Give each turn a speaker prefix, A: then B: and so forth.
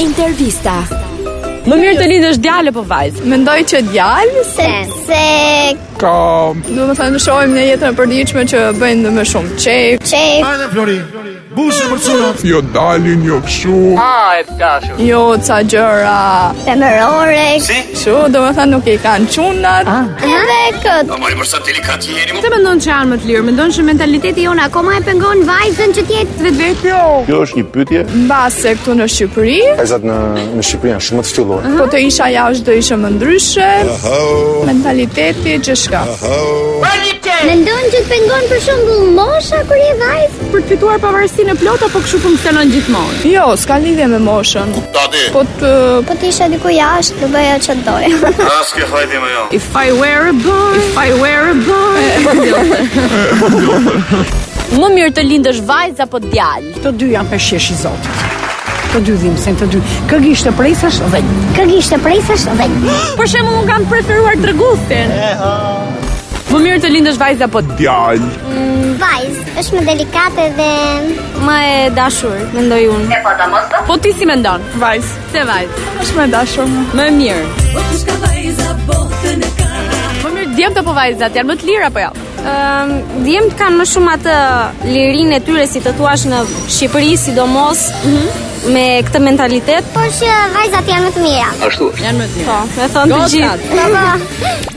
A: Intervista.
B: Më mirë të lidhësh djalë po vajzë.
C: Mendoj që djalë,
D: Se, se
C: do të thënë shohim në jetën e përditshme që bëjnë më shumë çejf.
D: qef
E: Hajde Flori. Bushë për çunat.
F: Jo dalin, jo këshu
C: Jo, ca gjëra.
D: femërore
C: Kështu, do të thënë nuk i kanë çunat.
D: Edhe këtë
B: Të mendon që janë më të lirë, mendon që mentaliteti jonë akoma e pengon vajzën që tjetë vetë vetë.
G: Kjo është një pyetje.
C: Mbase këtu në Shqipëri,
H: Vajzat në në Shqipëri janë shumë të ftyllura.
C: po të isha jashtë do isha më ndryshe. Mentaliteti gjithçka.
D: Mendon që të pengon për shembull mosha kur je vajzë?
B: Për të fituar pavarësinë e plotë apo kështu funksionon gjithmonë.
C: Jo, s'ka lidhje me moshën. Po të
D: Po të isha diku jashtë, do bëja që doja.
G: Po-
B: If I were a boy, if I were a boy. Ah,
A: Më mirë të lindësh vajzë apo djalë?
I: Të dy janë për shesh i Zotit. Të dy dhimsen të dy. Kë gishtë presash dhe
D: Kë gishte presash dhe
B: Për shembull unë kam preferuar tregusin. Më mirë të lindësh vajzë apo
F: djalë.
D: vajzë. Është më delikate dhe
A: Më e dashur, mendoj unë.
B: Po ti si mendon? Vajzë. Se vajzë.
C: është më dashur.
B: Më mirë. Më mirë djemt apo vajzat janë më të lirë apo jo?
A: Ëm, djemt kanë më shumë atë lirinë e tyre si të thuash në Shqipëri, sidomos me këtë mentalitet.
D: por që po vajzat janë më të mira.
B: Janë më të lirë.
A: Po, me thon të
B: Gocat.
A: gjithë.
D: Po, po.